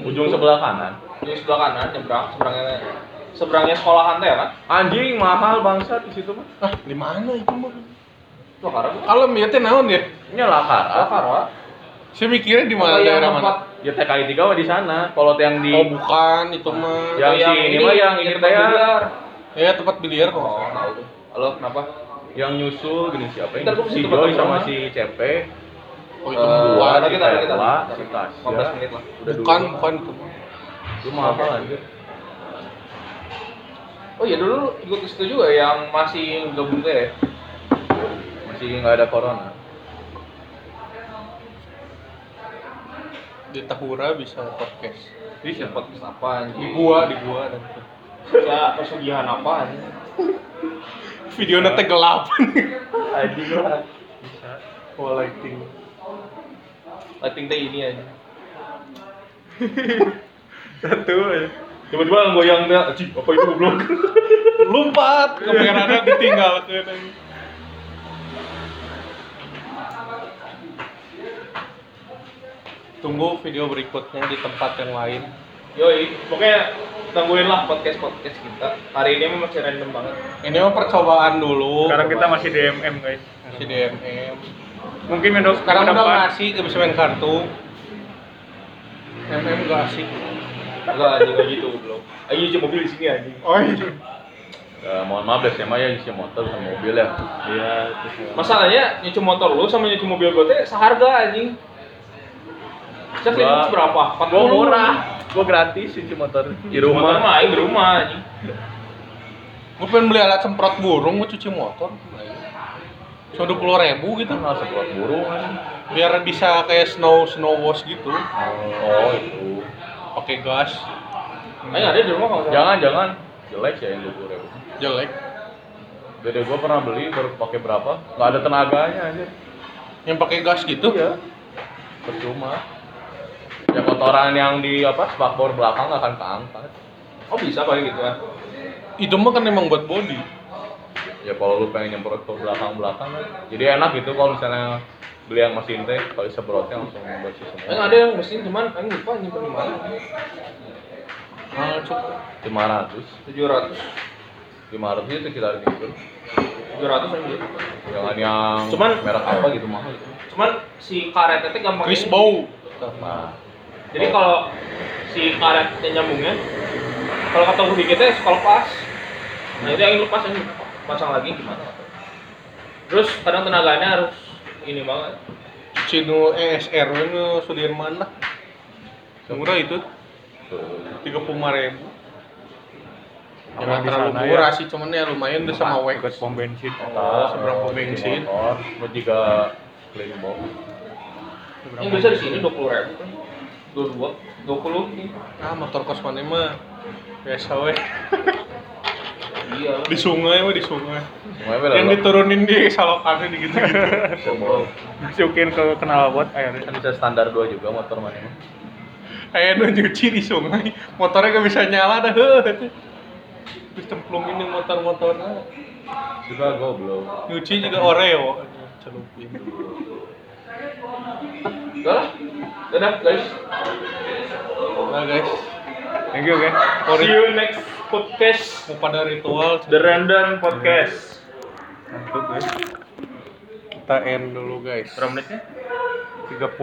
[SPEAKER 4] Ujung sebelah kanan.
[SPEAKER 3] Di sebelah kanan, nyebrang, seberangnya seberangnya sekolahan teh ya kan?
[SPEAKER 4] Anjing mahal bangsa di situ mah.
[SPEAKER 1] Ah, di mana itu mah?
[SPEAKER 3] Takara. bukan?
[SPEAKER 1] Kalau lihatnya naon ya?
[SPEAKER 4] Ini lakara.
[SPEAKER 3] Takara.
[SPEAKER 1] Saya mikirnya di
[SPEAKER 3] Apa
[SPEAKER 1] mana
[SPEAKER 3] yang
[SPEAKER 1] daerah
[SPEAKER 3] tempat-
[SPEAKER 1] mana?
[SPEAKER 4] Ya TKI 3 mah di sana. Kalau yang di
[SPEAKER 1] Oh bukan itu mah.
[SPEAKER 4] Yang
[SPEAKER 3] Atau
[SPEAKER 4] sini mah yang ini
[SPEAKER 3] tempat
[SPEAKER 4] teh ya.
[SPEAKER 3] biliar.
[SPEAKER 1] Ya tempat biliar kok.
[SPEAKER 3] Oh, tahu tuh. Halo, kenapa?
[SPEAKER 4] yang nyusul gini siapa
[SPEAKER 3] Ntar
[SPEAKER 4] yang
[SPEAKER 3] gua mesti
[SPEAKER 4] si
[SPEAKER 3] tempat
[SPEAKER 4] Joy
[SPEAKER 3] nongkrong,
[SPEAKER 4] sama
[SPEAKER 3] ah.
[SPEAKER 4] si CP
[SPEAKER 1] Oh itu
[SPEAKER 3] Eh,
[SPEAKER 1] mah bukan.
[SPEAKER 4] ada
[SPEAKER 3] lagi, lagi, lagi.
[SPEAKER 4] Ella, si Tasya.
[SPEAKER 3] 15 menit lah.
[SPEAKER 4] udah
[SPEAKER 1] Bukan
[SPEAKER 4] dulu.
[SPEAKER 1] bukan itu mah.
[SPEAKER 4] itu mahal anjir
[SPEAKER 3] Oh iya dulu ikut ke situ juga ya, yang masih gabung teh. ya.
[SPEAKER 4] masih nggak ada corona
[SPEAKER 1] Di Tahura bisa podcast.
[SPEAKER 3] Bisa
[SPEAKER 4] Iya,
[SPEAKER 3] podcast apa
[SPEAKER 1] Di
[SPEAKER 3] anjing?
[SPEAKER 1] gua di gua dan
[SPEAKER 3] Ya pesugihan apa anjing?
[SPEAKER 1] video nanti gelap.
[SPEAKER 4] anjing lah
[SPEAKER 1] Oh lighting.
[SPEAKER 3] Lighting teh ini aja.
[SPEAKER 2] satu aja.
[SPEAKER 4] tiba-tiba goyang dia anjing apa itu goblok
[SPEAKER 1] Lompat kameranya ditinggalkan. anjing. Tunggu video berikutnya di tempat yang lain.
[SPEAKER 3] Yoi, pokoknya tungguin lah podcast podcast kita. Hari ini memang masih random banget.
[SPEAKER 1] Ini mah percobaan dulu.
[SPEAKER 2] sekarang kita masih DMM guys
[SPEAKER 1] si DMM.
[SPEAKER 2] mungkin minggu
[SPEAKER 1] Sekarang
[SPEAKER 2] minggu
[SPEAKER 1] udah
[SPEAKER 2] depan
[SPEAKER 1] nggak asik, nggak bisa main kartu. MM nggak asik.
[SPEAKER 3] Enggak anjing enggak gitu belum. Ayo cuci mobil di sini anjing.
[SPEAKER 1] Oh iya.
[SPEAKER 4] Eh, mohon maaf deh SMA ya isi motor sama mobil ya
[SPEAKER 2] iya terus ya.
[SPEAKER 3] Masalahnya nyuci motor lu sama nyuci mobil gue teh seharga anjing. Cek
[SPEAKER 4] Gua-
[SPEAKER 3] ini berapa? 40
[SPEAKER 4] gua murah gua gratis isi motor di
[SPEAKER 3] Motor
[SPEAKER 4] rumah
[SPEAKER 3] mah aing di rumah anjing.
[SPEAKER 1] Gue pengen beli alat semprot burung, gue cuci motor. Cuma dua puluh ribu
[SPEAKER 4] itu
[SPEAKER 1] gitu,
[SPEAKER 4] nggak sebuah burung kan
[SPEAKER 1] biar bisa kayak snow snow wash gitu,
[SPEAKER 4] oh itu
[SPEAKER 1] pakai gas,
[SPEAKER 3] Aing ada di rumah kalau nggak salah.
[SPEAKER 4] jangan jangan jelek ya yang dua puluh ribu
[SPEAKER 1] jelek.
[SPEAKER 4] dede gua pernah beli baru pakai berapa nggak ada tenaganya anjir
[SPEAKER 1] Yang pakai gas gitu,
[SPEAKER 4] Iya. Percuma. Ya kotoran yang di apa spakbor belakang nggak akan keangkat.
[SPEAKER 3] Oh bisa paling gitu ya.
[SPEAKER 1] itu mah kan emang buat body.
[SPEAKER 4] Ya kalau lu pengen nyemprot ke belakang belakang kan. Jadi enak gitu kalau misalnya beli yang mesin teh kalau disemprotnya langsung bersih
[SPEAKER 3] Aing
[SPEAKER 4] semua.
[SPEAKER 3] ada yang mesin cuman aing lupa nyimpen di mana.
[SPEAKER 1] Nah, cukup.
[SPEAKER 4] 500.
[SPEAKER 3] 700.
[SPEAKER 4] 500 itu kita gitu.
[SPEAKER 3] 700 anjing.
[SPEAKER 4] Jangan yang
[SPEAKER 3] Cuman-
[SPEAKER 4] merek apa gitu mahal gitu.
[SPEAKER 3] Cuman si karetnya teh gampang
[SPEAKER 1] Chris
[SPEAKER 3] ini.
[SPEAKER 1] Bow.
[SPEAKER 4] Nah.
[SPEAKER 3] Jadi kalau si karetnya nyambungnya, kalau ketemu di kita suka lepas. Nah itu yang lepas yang pasang lagi gimana? Terus kadang tenaganya harus ini banget.
[SPEAKER 1] Cino ESR, E ini Sudirman lah. Murah itu,
[SPEAKER 4] tuh.
[SPEAKER 1] tiga puluh ribu. Ya nggak
[SPEAKER 2] Emang di
[SPEAKER 1] terlalu
[SPEAKER 2] sana
[SPEAKER 1] murah
[SPEAKER 2] ya.
[SPEAKER 1] sih, cuman ya lumayan tuh sama Wex.
[SPEAKER 2] Dekat pom bensin.
[SPEAKER 1] Oh, seberang pom bensin.
[SPEAKER 4] motor buat jika keliling bawah
[SPEAKER 1] Seberang
[SPEAKER 3] Ini
[SPEAKER 1] pom
[SPEAKER 3] biasa di
[SPEAKER 1] bensin.
[SPEAKER 3] sini 20 ribu kan. 22, 20
[SPEAKER 1] Ah, motor kos mana mah biasa we.
[SPEAKER 3] Iya.
[SPEAKER 1] Di sungai mah di sungai.
[SPEAKER 4] semuanya bela
[SPEAKER 1] Yang diturunin di salokannya di gitu.
[SPEAKER 3] Oh.
[SPEAKER 2] Masukin ke kenal buat air.
[SPEAKER 4] kan bisa standar dua juga motor mana ini.
[SPEAKER 1] Kayak nu nyuci di sungai, motornya gak bisa nyala dah. heuh. Terus cemplungin yang motor-motornya.
[SPEAKER 4] juga goblok
[SPEAKER 1] Nyuci juga Oreo. Celupin.
[SPEAKER 3] Udah lah. Dadah guys.
[SPEAKER 1] Nah guys,
[SPEAKER 2] Thank you, guys.
[SPEAKER 1] Sorry.
[SPEAKER 3] See you next podcast.
[SPEAKER 1] mau pada ritual
[SPEAKER 3] The Random Podcast.
[SPEAKER 2] Mantap, guys.
[SPEAKER 1] kita end dulu guys.
[SPEAKER 2] Berapa menitnya? 30.